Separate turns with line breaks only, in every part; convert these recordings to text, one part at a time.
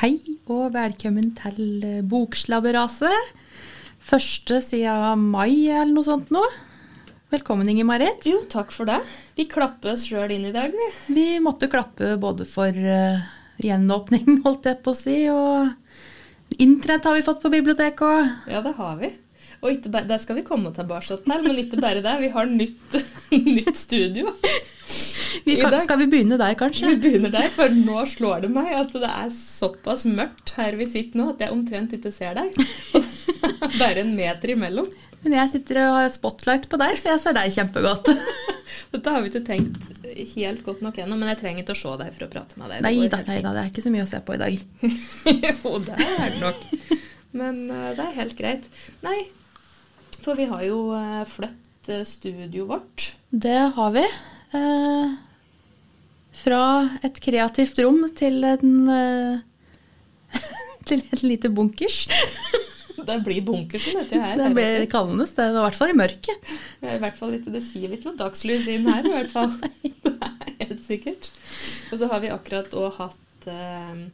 Hei og velkommen til Bokslabberaset. Første siden mai eller noe sånt nå. Velkommen, Inger Marit.
Jo, takk for det. Vi klapper oss sjøl inn i dag, vi.
Vi måtte klappe både for eh, gjenåpning, holdt jeg på å si, og internett har vi fått på biblioteket òg.
Ja, det har vi. Og ikke bare, det skal vi komme tilbake til, men ikke bare det. Vi har nytt, nytt studio. I dag-
Skal vi begynne der,
Vi
kanskje?
begynner der, for nå slår det meg at det er såpass mørkt her vi sitter nå, at jeg omtrent ikke ser deg. Og det er Bare en meter imellom.
Men jeg sitter og har spotlight på deg, så jeg ser deg kjempegodt.
Dette har vi ikke tenkt helt godt nok ennå, men jeg trenger ikke å se deg for å prate med deg.
Nei da, nei da, det er ikke så mye å se på i dag.
jo, det er det nok. Men eh, det er helt greit. Nei, for vi har jo uh, flytt eh, studioet vårt.
Det har vi. Eh, fra et kreativt rom til en eh, til et lite bunkers.
Det blir bunkers som heter her.
Det blir
heretter.
kallende sted, og i hvert fall i mørket.
Det er I hvert fall litt, det sier vi ikke noe dagslys inn her, i hvert fall. Det er Helt sikkert. Og så har vi akkurat òg hatt eh,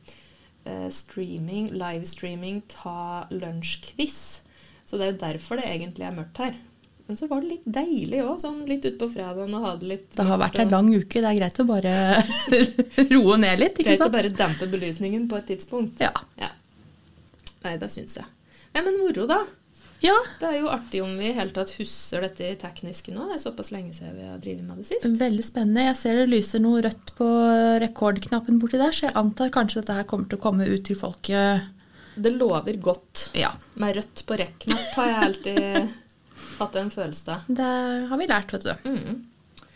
eh, streaming, livestreaming ta lunsjquiz. Så det er jo derfor det egentlig er mørkt her. Men så var det litt deilig òg, sånn litt utpå fredagen og ha det litt
Det har
mørkt
vært en
og-
lang uke, det er greit å bare roe ned litt, ikke
Greit å
sant?
bare dempe belysningen på et tidspunkt.
Ja.
Ja. Nei, det syns jeg. Nei, men moro, da.
ja.
Det er jo artig om vi i hele tatt husker dette tekniske nå. Det er såpass lenge siden vi har drevet med det sist.
Veldig spennende. Jeg ser det lyser noe rødt på rekordknappen borti der, så jeg antar kanskje dette her kommer til å komme ut til folket.
Det lover godt.
Ja.
Med rødt på rekk-knapp har jeg alltid hatt en følelse av.
Det har vi lært, vet du.
Mm.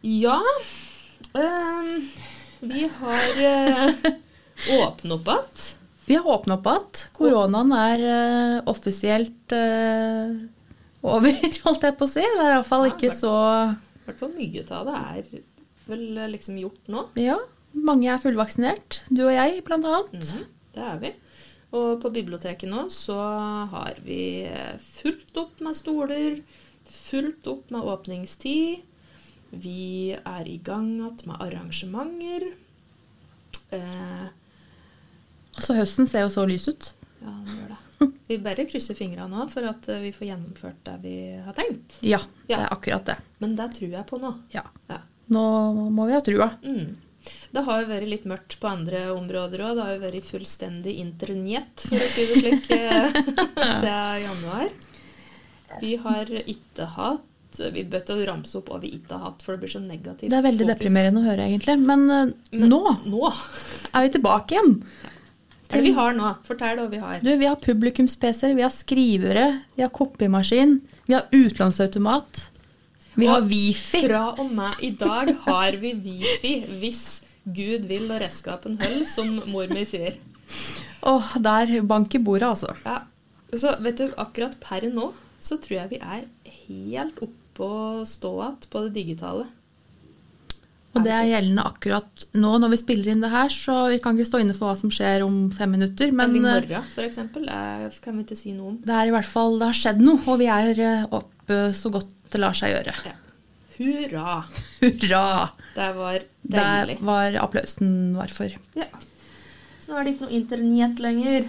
Ja ehm, Vi har uh, åpnet opp igjen.
Vi har åpna opp igjen. Koronaen er eh, offisielt eh, over, holdt jeg på å si. Det er iallfall
Ja,
ikke
hvert-
så
I hvert fall mye av det er vel eh, liksom gjort nå.
Ja, mange er fullvaksinert. Du og jeg, blant annet.
Mhm, det er vi. Og på biblioteket nå så har vi eh, fullt opp med stoler, fullt opp med åpningstid. Vi er i gang igjen med arrangementer. Eh,
Så høsten ser jo så lys ut.
ja, vi gjør det. Vi bare krysser fingrene nå for at eh, vi får gjennomført det vi har tenkt.
Ja, det
Ja.
er akkurat det.
Men det tror jeg på nå.
Ja.
Ja.
Nå må vi ha trua.
Mm. Det har jo vært litt mørkt på andre områder òg. Det har jo vært fullstendig internett, for å si det slik, eh, siden januar. Vi har ikke hatt Vi bød til å ramse opp hva vi ikke har hatt, for det blir så negativt.
Det er veldig
fokus.
deprimerende å høre, egentlig. Men eh,
Men
nå
Nå!
er vi tilbake igjen.
Hva er det vi har nå? Fortell hva vi har.
Du, vi har publikums-PC-er, vi har skrivere, vi har kopimaskin, vi har utlånsautomat. Vi har
Og
wifi.
Fra og med i dag har vi wifi, hvis Gud vil og redskapen holder, som mor mi sier.
Åh, der bank i bordet, altså.
Ja. Så vet du, akkurat per nå så tror jeg vi er helt oppe og stå igjen på det digitale.
Og det er gjeldende akkurat nå når vi spiller inn det her, så vi kan ikke stå inne for hva som skjer om fem minutter. Men
Men i
eh,
morgen, for eksempel, eh, kan vi ikke si noe om.
det er i hvert fall det har skjedd noe, og vi er eh, oppe så godt det lar seg gjøre.
Ja. Hurra!
Hurra!
Det var
Der
deilig.
var applausen var for.
Ja. Så nå er det ikke noe internett lenger.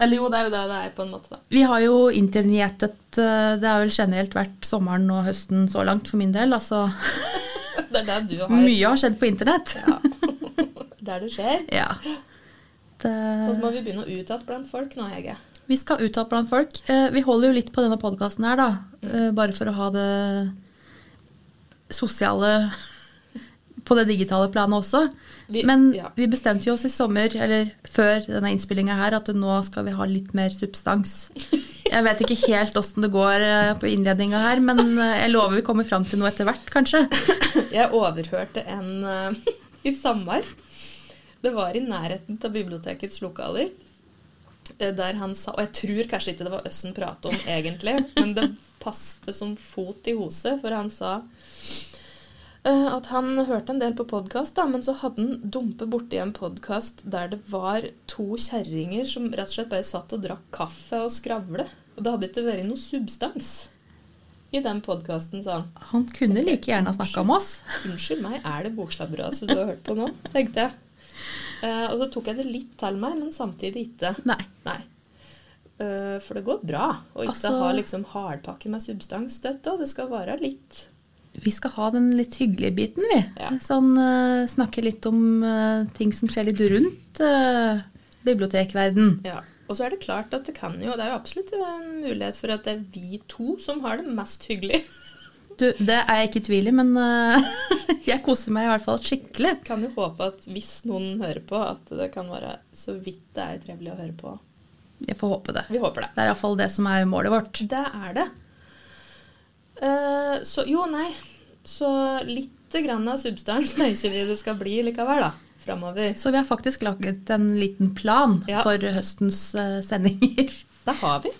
Eller jo, det er jo det det er på en måte, da.
Vi har jo internettet eh, Det har vel generelt vært sommeren og høsten så langt for min del. Altså
Det er det du har.
mye har skjedd på internett.
Der det skjer.
Ja.
Og så
Det,
må vi begynne å ut igjen blant folk nå, Hege.
vi skal ut av blant folk. Eh, Vi holder jo litt på denne podkasten her, da. eh, Bare for å ha det sosiale på det digitale planet også.
Vi-
Men
ja.
vi bestemte jo oss i sommer, eller før denne innspillinga her, at nå skal vi ha litt mer substans. Jeg vet ikke helt åssen det går eh, på innledninga her, men eh, jeg lover vi kommer fram til noe etter hvert, kanskje.
Jeg overhørte en eh, i Samar. Det var i nærheten av bibliotekets lokaler. eh, Der han sa, og jeg tror kanskje ikke det var oss han pratet om egentlig, men det passte som fot i hoset, for han sa eh, at han hørte en del på podkast, men så hadde han dumpet borti en podkast der det var to kjerringer som rett og slett bare satt og drakk kaffe og skravle. Og det hadde ikke vært noe substans i den podkasten, sa han.
Han kunne like gjerne ha snakka om oss.
Unnskyld meg, er det bokslabberas du har hørt på nå? tenkte jeg. Eh, og så tok jeg det litt til meg, men samtidig ikke.
Nei.
Nei. Eh, for det går bra å ikke
Altså-
ha liksom hardpakke med substans støtt òg. Det skal være litt
Vi skal ha den litt hyggelige biten, vi.
Ja.
Sånn eh, snakke litt om eh, ting som skjer litt rundt uh, bibliotekverden.
Ja. Og så er det klart at det kan jo Det er jo absolutt en mulighet for at det er vi to som har det mest hyggelig.
Du, det er jeg ikke i tvil i, men eh, jeg koser meg i hvert fall skikkelig.
Kan jo håpe at hvis noen hører på, at det kan være så vidt det er trevelig å høre på.
Jeg får håpe det.
Vi håper det.
Det er iallfall det som er målet vårt.
Det er det. Eh, så jo, nei. Så lite grann av substans tenker vi det skal bli likevel, da. Framover.
Så vi har faktisk laget en liten plan
Ja.
for høstens eh, sendinger.
Det har vi.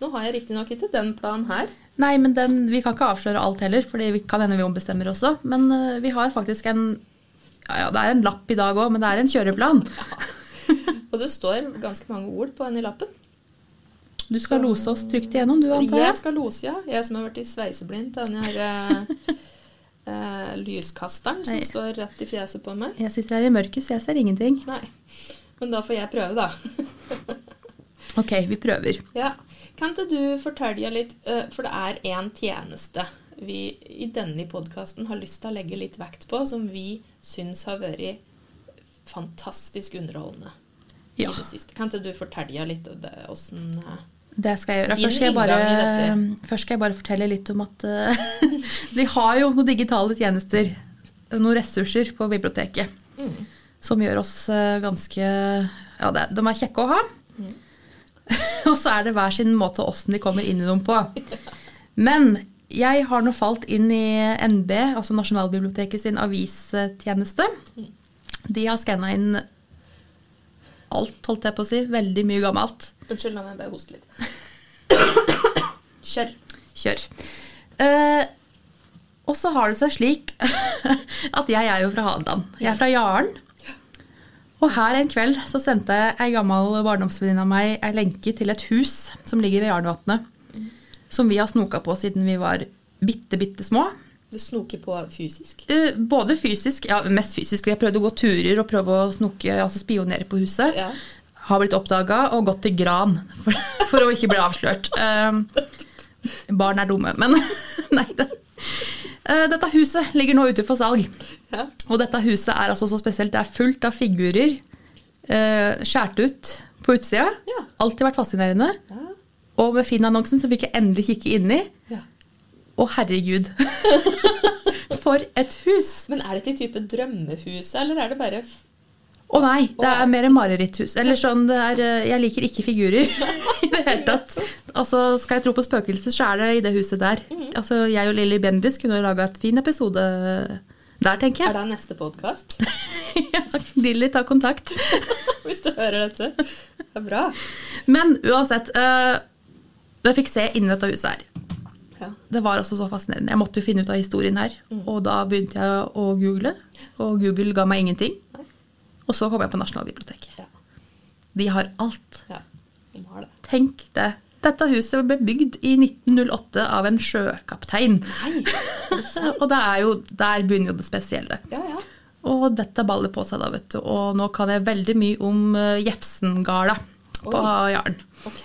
Nå har jeg riktignok ikke den planen her.
Nei, men den, vi kan ikke avsløre alt heller, for det kan hende vi ombestemmer også. Men eh, vi har faktisk en ja, ja, Det er en lapp i dag òg, men det er en kjøreplan.
Og det står ganske mange ord på den i lappen.
Du skal lose oss trygt igjennom, du, antar
Jeg
jeg?
skal lose, ja. Jeg som har vært i sveiseblind til den her eh, eh, lyskasteren som
Nei.
står rett i fjeset på meg.
Jeg sitter her i mørket, så jeg ser ingenting.
Nei. Men da får jeg prøve, da.
Ok, vi prøver.
Ja. Kan ikke du fortelle litt eh, For det er én tjeneste vi i denne podkasten har lyst til å legge litt vekt på, som vi syns har vært fantastisk underholdende
Ja,
i det siste. Kan ikke du fortelle litt om det, åssen eh,
det skal jeg gjøre.
Din
Først skal jeg bare,
inngang
først skal jeg bare fortelle litt om at eh, vi har jo noen digitale tjenester, noen ressurser på biblioteket,
mm.
som gjør oss eh, ganske Ja, det, de er kjekke å ha. Og så er det hver sin måte åssen de kommer inn i dem på. Men jeg har nå falt inn i NB, altså Nasjonalbiblioteket sin avistjeneste. De har skanna inn alt, holdt jeg på å si. Veldig mye gammelt.
Unnskyld, la meg bare hoste litt. Kjør.
Kjør. Eh, og så har det seg slik at jeg er jo fra Hadeland. Jeg er fra Jaren. Og her en kveld så sendte jeg ei gammel barndomsvenninne av meg ei lenke til et hus som ligger ved Jarnvatnet. Som vi har snoka på siden vi var bitte, bitte små.
Du snoker på fysisk?
Eh, både fysisk, ja mest fysisk. Vi har prøvd å gå turer og prøve å snoke, altså spionere på huset.
Ja.
Har blitt oppdaga og gått til gran for, for å ikke bli avslørt. Eh, barn er dumme, men nei da. Eh, dette huset ligger nå ute for salg.
Ja.
Og dette huset er altså så spesielt. Det er fullt av figurer eh, skjært ut på utsida.
Ja.
Alltid vært fascinerende.
Ja.
Og med Finn-annonsen så fikk jeg endelig kikke inni.
ja.
Å, herregud. For et hus!
Men er dette i type drømmehus, eller er det bare f-
Å nei, det
Å
er mer mareritthus. Eller sånn, det er, eh, jeg liker ikke figurer i det hele tatt. Altså, Skal jeg tro på spøkelser, så er det i det huset der.
Mhm.
Altså, Jeg og Lilly Bendriss kunne laga et fin episode der, tenker
Er
jeg.
det neste podkast?
Lilly, ta kontakt.
Hvis du hører dette. Det er bra.
Men uansett, eh, jeg fikk se inni dette huset her.
Ja.
Det var altså så fascinerende. Jeg måtte jo finne ut av historien her.
Mhm.
Og da begynte jeg å google, og Google ga meg ingenting.
Nei.
Og så kom jeg på Nasjonalbiblioteket.
Ja.
De har alt.
ja. De har det.
Tenk det. Dette huset ble bygd i 1908 av en sjøkaptein.
Nei! Er det sant?
Og det er jo, der begynner jo det spesielle.
Ja, ja.
Og dette baller på seg, da, vet du. Og nå kan jeg veldig mye om eh, Jefsengarda på Jaren.
Ok.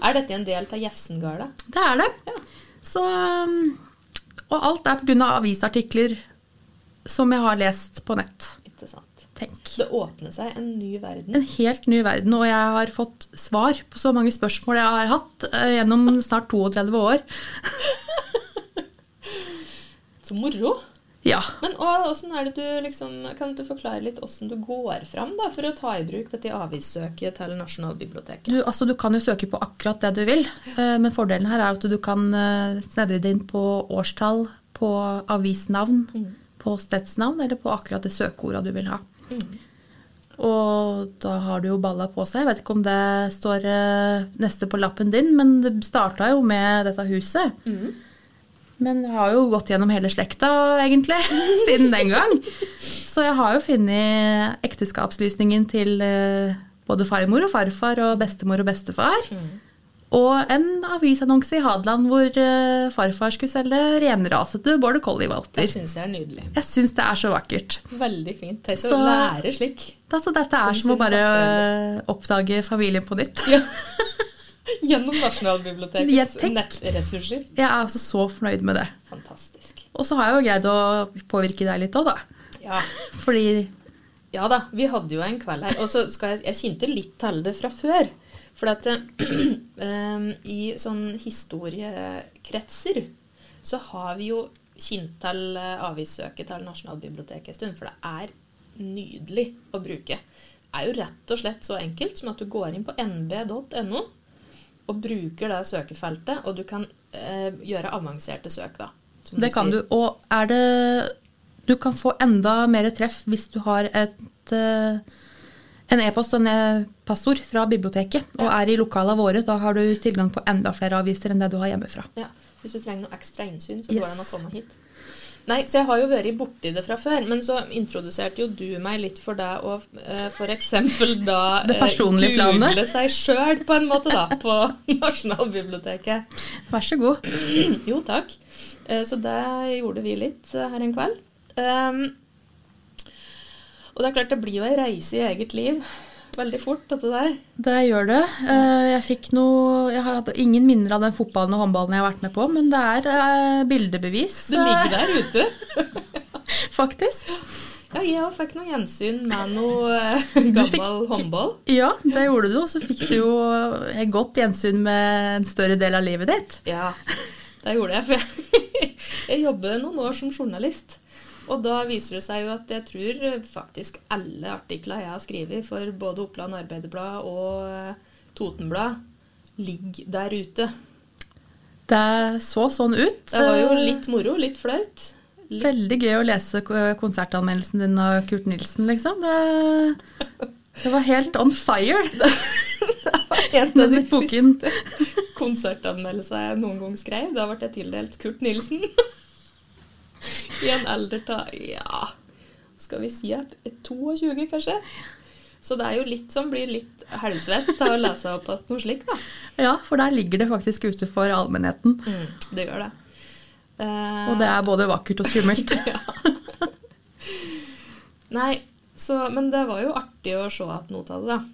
Er dette en del av Jefsengarda?
Det er det.
Ja.
Så um, Og alt er pga. avisartikler som jeg har lest på nett.
Ikke sant.
Tenk.
Det åpner seg en ny verden.
En helt ny verden, og jeg har fått svar på så mange spørsmål jeg har hatt eh, gjennom snart 32 år.
Så moro!
Ja.
Men og, hvordan er det du liksom, Kan du forklare litt åssen du går fram da, for å ta i bruk dette avissøket til Nasjonalbiblioteket?
Du, altså, du kan jo søke på akkurat det du vil, eh, men fordelen her er at du kan eh, snevre det inn på årstall, på avisnavn, på stedsnavn eller på akkurat det søkeordet du vil ha. Og da har du jo balla på seg. Jeg vet ikke om det står eh, neste på lappen din, men det starta jo med dette huset. Men jeg har jo gått gjennom hele slekta, egentlig, siden den gang. Så jeg har jo funnet ekteskapslysningen til eh, både farmor og farfar og bestemor og bestefar. Og en avisannonse i Hadeland hvor eh, farfar skulle selge renrasete border
Det
collie-valper.
syns jeg er nydelig.
Jeg syns det er så vakkert.
Veldig fint. Tenk å
Så-
lære slik.
Altså, dette er som å bare oppdage familien på nytt.
Ja. Gjennom Nasjonalbibliotekets
Jeg tenk-
nettressurser.
Jeg er altså så fornøyd med det.
Fantastisk.
Og så har jeg jo greid å påvirke deg litt òg, da.
Ja.
Fordi
ja da, vi hadde jo en kveld her. Og så skal jeg Jeg kjente litt til det fra før. For at eh, i sånn historiekretser så har vi jo kjent til eh, avissøket til Nasjonalbiblioteket en stund. For det er nydelig å bruke. Det er jo rett og slett så enkelt som at du går inn på nb.no og bruker det søkefeltet, og du kan eh, gjøre avanserte søk, da. som
det kan
sier.
du. Og er det Du kan få enda mer treff hvis du har et eh, en e-post og en eh, passord fra biblioteket og er i lokalene våre. Da har du tilgang på enda flere aviser enn det du har hjemmefra.
Ja, Hvis du trenger noe ekstra innsyn, så går
Yes.
det an å komme hit. Nei, så jeg har jo vært borti det fra før, men så introduserte jo du meg litt for det å eh, for eksempel da
Det
eh,
personlige planet.
google seg sjøl, på en måte, da, på Nasjonalbiblioteket.
Vær så god.
Jo, takk. Eh, Så det gjorde vi litt eh, her en kveld. Ehm, og det er klart, det blir jo ei reise i eget liv veldig fort, dette der.
Det gjør det. Eh, Jeg fikk noe Jeg hadde ingen minner av den fotballen og håndballen jeg har vært med på, men det er eh, bildebevis,
Det ligger der ute.
eh, faktisk.
Ja, jeg òg fikk noe gjensyn med noe eh, gammel håndball.
Ja, det gjorde du, og så fikk du jo et godt gjensyn med en større del av livet ditt.
Ja, det gjorde jeg. For jeg, jeg jobber noen år som journalist. Og da viser det seg jo at jeg tror faktisk alle artikler jeg har skrevet for både Oppland Arbeiderblad og eh, Totenblad, ligger der ute.
Det så sånn ut.
Det var jo litt moro, litt flaut. Litt,
Veldig gøy å lese ko- konsertanmeldelsen din av Kurt Nilsen, liksom. Det, det var helt on fire.
en av de
den boken.
første konsertanmeldelsene jeg noen gang skrev, da ble jeg tildelt Kurt Nilsen. I en alder av ja, skal vi si at 22, kanskje? Så det er jo litt som blir litt helsvett av å lese opp at noe slikt, da.
Ja, for der ligger det faktisk ute for allmennheten.
Mm, Det gjør det. Eh,
Og det er både vakkert og skummelt.
Nei, så, men det var jo artig å se at noe av det, da.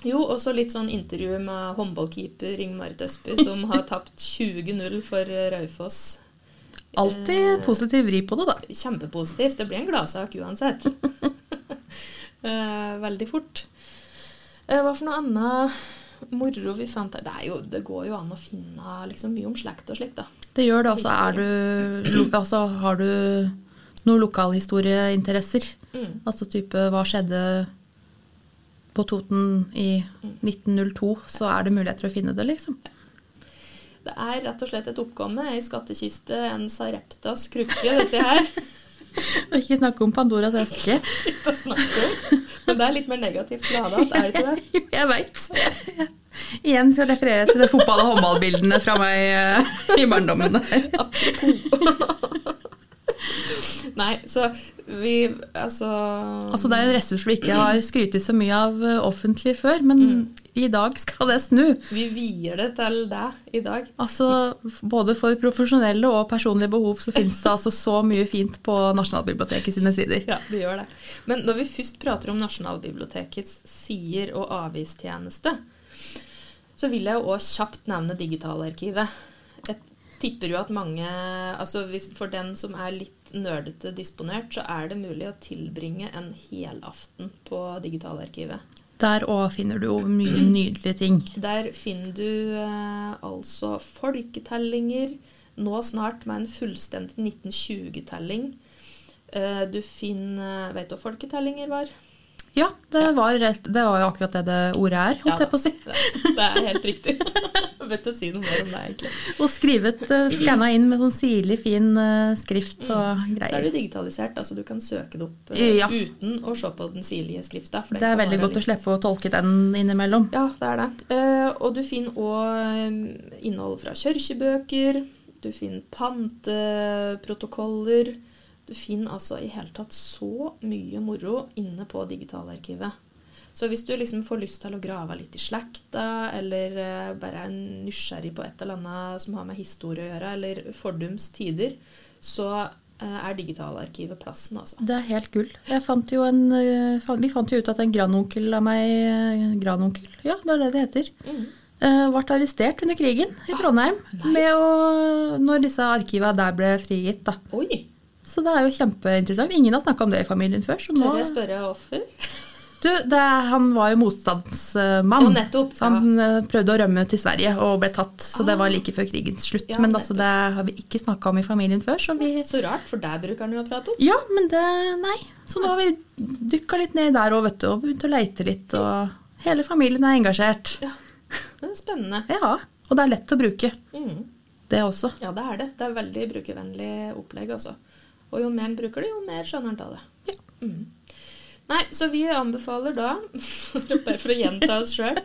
Jo, og så litt sånn intervju med håndballkeeper Ingmarit Østby, som har tapt 20-0 for eh, Raufoss.
Alltid positiv vri på det, da.
Kjempepositivt. Det blir en gladsak uansett. Eh, Veldig fort. Eh, Hva for noe annet moro vi fant der? Det, er jo, det går jo an å finne liksom, mye om slekt og slikt, da.
Det gjør det. Og så er du lo- Altså har du noen lokalhistorieinteresser.
Mm.
Altså type hva skjedde på Toten i 1902, så er det muligheter å finne det, liksom.
Det er rett og slett et oppkomme, ei skattkiste, en sareptas krukke, dette her.
Og ikke snakke om Pandoras eske.
å snakke om. Men det er litt mer negativt lada, er det ikke det?
Jeg veit. Igjen skal jeg referere til det fotball- og håndballbildene fra meg eh, i barndommen. der.
Nei, så vi Altså,
Altså Det er en ressurs vi ikke har skrytt så mye av eh, offentlig før, men
Mm.
i dag skal det snu.
vi vier det til deg i dag.
Altså, f- Både for profesjonelle og personlige behov så finnes det altså så mye fint på Nasjonalbiblioteket sine sider.
Ja, det gjør det. Men når vi først prater om Nasjonalbibliotekets sider og avistjeneste, så vil jeg jo òg kjapt nevne Digitalarkivet. Jeg tipper jo at mange altså hvis, For den som er litt nerdete disponert, så er det mulig å tilbringe en helaften på Digitalarkivet.
Der òg finner du jo mye nydelige ting.
Der finner du eh, altså folketellinger, nå snart med en fullstendig 1920-telling. Eh, du finner eh, Vet du hva folketellinger var?
Ja, det var, rett, det var jo akkurat det det ordet er, holdt
Ja,
jeg på å si.
Det det er helt riktig. vet du å si noe mer om det, egentlig.
Og skrevet, uh, skanna inn med sånn sirlig fin eh, skrift og
Mm. Så
greier.
er det digitalisert, altså du kan søke det opp eh,
Ja.
uten å se på den sirlige skrifta. for liksom.
Det er
kan
veldig
være
godt å
litt-
slippe å tolke den innimellom.
Ja, det er det. Eh, og du finner òg innhold fra kirkebøker. Du finner panteprotokoller. Du finner altså i hele tatt så mye moro inne på digitalarkivet. Så hvis du liksom får lyst til å grave litt i slekta, eller eh, bare er nysgjerrig på et eller annet som har med historie å gjøre, eller fordums tider, så eh, er digitalarkivet plassen, altså.
Det er helt gull. Jeg fant jo en, eh, fan- vi fant jo ut at en grandonkel av meg eh, Grandonkel, ja, det er det det heter.
Mm.
eh, Ble arrestert under krigen i Trondheim
Ah,
med å, når disse arkivene der ble frigitt. Da.
Oi!
Så det er jo kjempeinteressant. Ingen har snakka om det i familien før. Så nå,
Tør jeg spørre hvorfor?
du, det, er- han var jo motstandsmann.
Ja, nettopp. Ah.
Så han eh, prøvde å rømme til Sverige og ble tatt. Så det var like før krigens slutt.
Ja,
Men altså, det har vi ikke snakka om i familien før. Så vi
Så rart, for der bruker han jo å prate om.
Ja, men det Nei. Så nå har vi dykka litt ned der òg, vet du, og begynt å leite litt. Og hele familien er engasjert.
Ja, det er spennende.
Ja. Og det er lett å bruke,
Mm.
det også.
Ja, det er det. Det er veldig brukervennlig opplegg, altså. Og jo mer han bruker det, jo mer skjønner han av det.
Ja.
Mm. Nei, så vi anbefaler da, bare for å gjenta oss sjøl,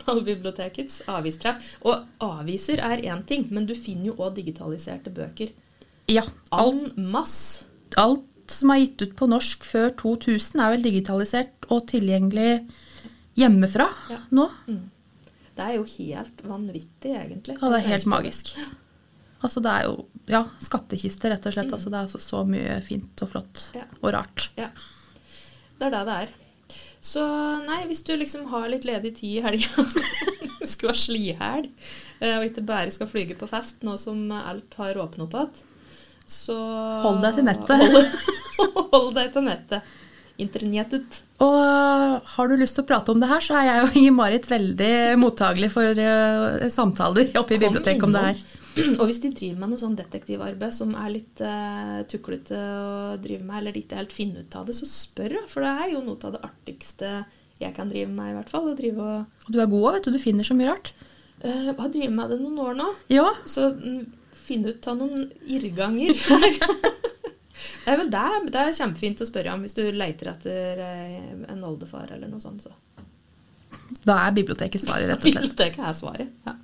Nasjonalbibliotekets avistreff. Og aviser er én ting, men du finner jo òg digitaliserte bøker.
ja.
En masse.
Alt som er gitt ut på norsk før 2000, er vel digitalisert og tilgjengelig hjemmefra
Ja.
nå.
Det er jo helt vanvittig, egentlig.
Og det er helt magisk. Altså, det er jo ja, skattkiste, rett og slett. Altså, det er så, så mye fint og flott
Mm. Ja.
og rart.
Ja. Det er da det er. Så nei, hvis du liksom har litt ledig tid i helga, du skulle ha slihelg, eh, og ikke bare skal flyge på fest nå som alt har åpnet opp igjen, så
Hold deg til nettet.
Hold, hold deg til nettet. Internettet.
Og eh, har du lyst til å prate om det her, så er jeg og Inger-Marit veldig mottagelig for eh, samtaler oppe i
Kom
biblioteket om det her.
innom. Og hvis de driver med noe sånn detektivarbeid som er litt eh, tuklete å drive med, eller de ikke helt finner ut av det, så spør, da. For det er jo noe av det artigste jeg kan drive med, i hvert fall. Å drive og
Og du er god òg, vet du. Du finner så mye rart.
Eh, Jeg har drevet med det noen år nå,
Ja.
så mm, finn ut av noen irrganger. Nei, men det, er- det er kjempefint å spørre om hvis du leiter etter eh, en oldefar eller noe sånt. Så.
Da er biblioteket svaret, rett og slett.
Biblioteket er svaret. Ja.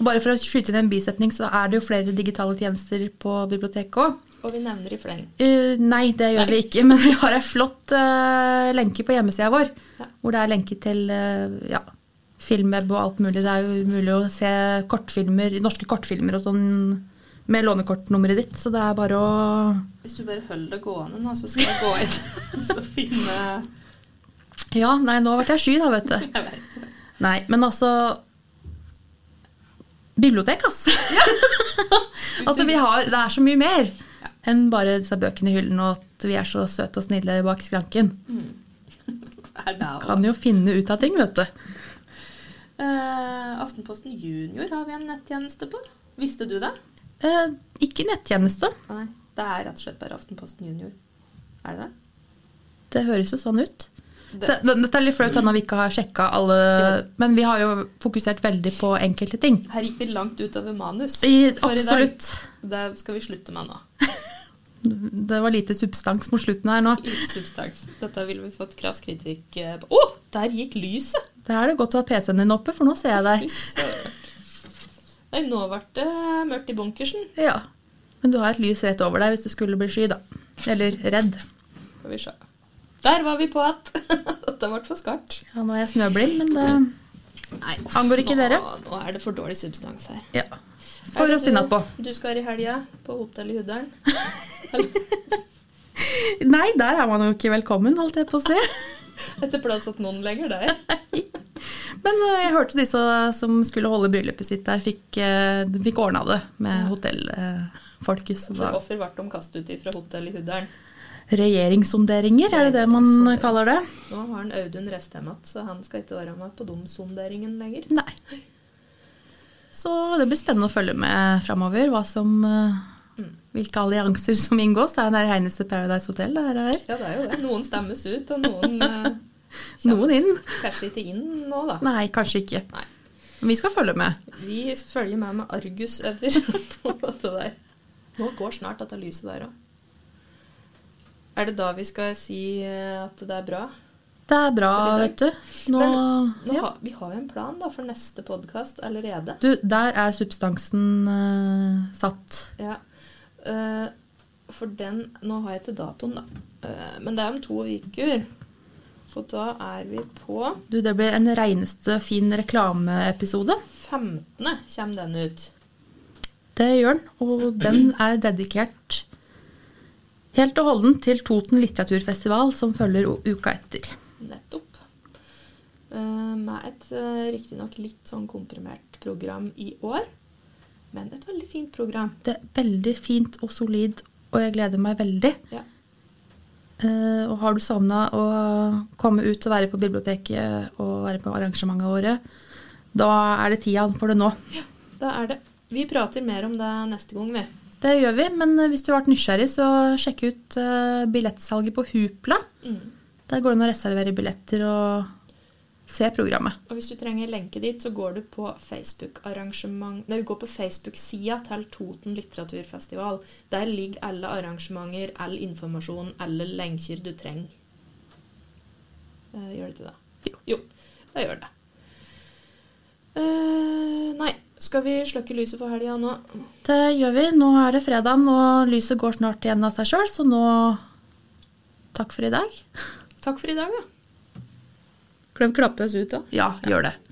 Og Bare for å skyte inn en bisetning, så er det jo flere digitale tjenester på biblioteket òg.
Og vi nevner i fleng.
Eh, nei, det gjør vi ikke, men vi har ei flott eh, lenke på hjemmesida vår.
Ja.
Hvor det er lenke til uh, ja, filmweb og alt mulig. Det er jo mulig å se kortfilmer, norske kortfilmer og sånn med lånekortnummeret ditt, så det er bare å
Hvis du bare holder det gående nå, så skal jeg gå inn og finne
Ja, nei, nå ble jeg sky, da, vet du.
Jeg vet.
Nei, men altså Bibliotek, ass! altså, vi har, det er så mye mer enn bare disse bøkene i hyllen, og at vi er så søte og snille bak skranken.
Det er der også.
Kan jo finne ut av ting, vet du.
Eh, Aftenposten Junior har vi en nettjeneste på. Visste du det?
Eh, ikke nettjeneste.
Nei. Det er rett og slett bare Aftenposten Junior. Er det det?
Det høres jo sånn ut.
Det-
Så, det- dette er litt flaut da, når vi ikke har sjekka alle Men vi har jo fokusert veldig på enkelte ting.
Her gikk vi langt utover manus.
I,
for i dag.
absolutt.
Det skal vi slutte med nå.
Det var lite substans mot slutten her nå.
Uten substans. Dette ville vi fått krass kritikk eh, på. Å, der gikk lyset!
Det er det godt å ha PC-en din oppe, for nå ser jeg
Fy
deg.
søren. Nei, nå ble det mørkt i bunkersen.
Ja. Men du har et lys rett over deg hvis du skulle bli sky, da. Eller redd.
Skal vi se. Der var vi på at Dette ble for skarpt.
Ja, nå er jeg snøblind, men eh, det
Nei,
Angår ikke dere?
Nå er det for dårlig substans her.
Ja. For oss innatpå.
Du skal i helga på hotell i Huddalen.
Nei, der er man jo ikke velkommen, holdt jeg på å si.
Etter plass at noen legger der.
Men eh, jeg hørte disse som skulle holde bryllupet sitt der, fikk, eh, de fikk ordna det med hotellfolket. Så
For
da
hvorfor ble de kastet ut fra hotell i Huddalen?
Regjeringssonderinger, er det det man
Regjeringssondering.
kaller det?
Nå har han Audun Restheim igjen, så han skal ikke være med på domsonderingen lenger.
Nei. Så det blir spennende å følge med framover, hva som eh, hvilke allianser som inngås. Det er det eneste Paradise Hotel det her er.
Ja, det er jo det. Noen stemmes ut, og noen eh,
Noen inn.
kanskje ikke inn nå, da.
Nei, kanskje ikke.
Nei.
Men vi skal følge med.
Vi følger med med argusøver på det der. Nå går snart dette lyset der òg. Er det da vi skal si eh, at det er bra?
Det er bra,
For i dag.
vet du. Nå,
Nå
ja.
har, vi har jo en plan da for neste podkast allerede.
Du, der er substansen eh, satt.
Ja. Eh, for den Nå har jeg ikke datoen, da. Eh, men det er om to uker. Og da er vi på
Du, det ble en reineste fin reklameepisode.
15. kommer den ut.
Det gjør den, og den er dedikert helt og holdent til Toten litteraturfestival, som følger o- uka etter.
Nettopp. Eh, Med et eh, riktignok litt sånn komprimert program i år, men et veldig fint program.
Det er veldig fint og solid, og jeg gleder meg veldig.
Ja.
Eh, og har du savna å komme ut og være på biblioteket og være på arrangementet våre, da er det tida for det nå.
Da er det Vi prater mer om det neste gang, vi.
Det gjør vi, men hvis du har vært nysgjerrig, så sjekk ut eh, billettsalget på Hupla.
Mm.
Der går det an å reservere billetter og se programmet.
Og hvis du trenger lenke dit, så går du på Facebook-arrangement Nei, du går på Facebook-sida til Toten litteraturfestival. Der ligger alle arrangementer, all informasjon, alle lenker du trenger. Eh, gjør det ikke det? Jo. jo, det gjør det. Eh, nei, skal vi slukke lyset for helga nå?
Det gjør vi. Nå er det fredagen, og lyset går snart igjen av seg sjøl, så nå Takk for i dag.
Takk for i dag, da. Klem klappes ut, da.
Ja, gjør det.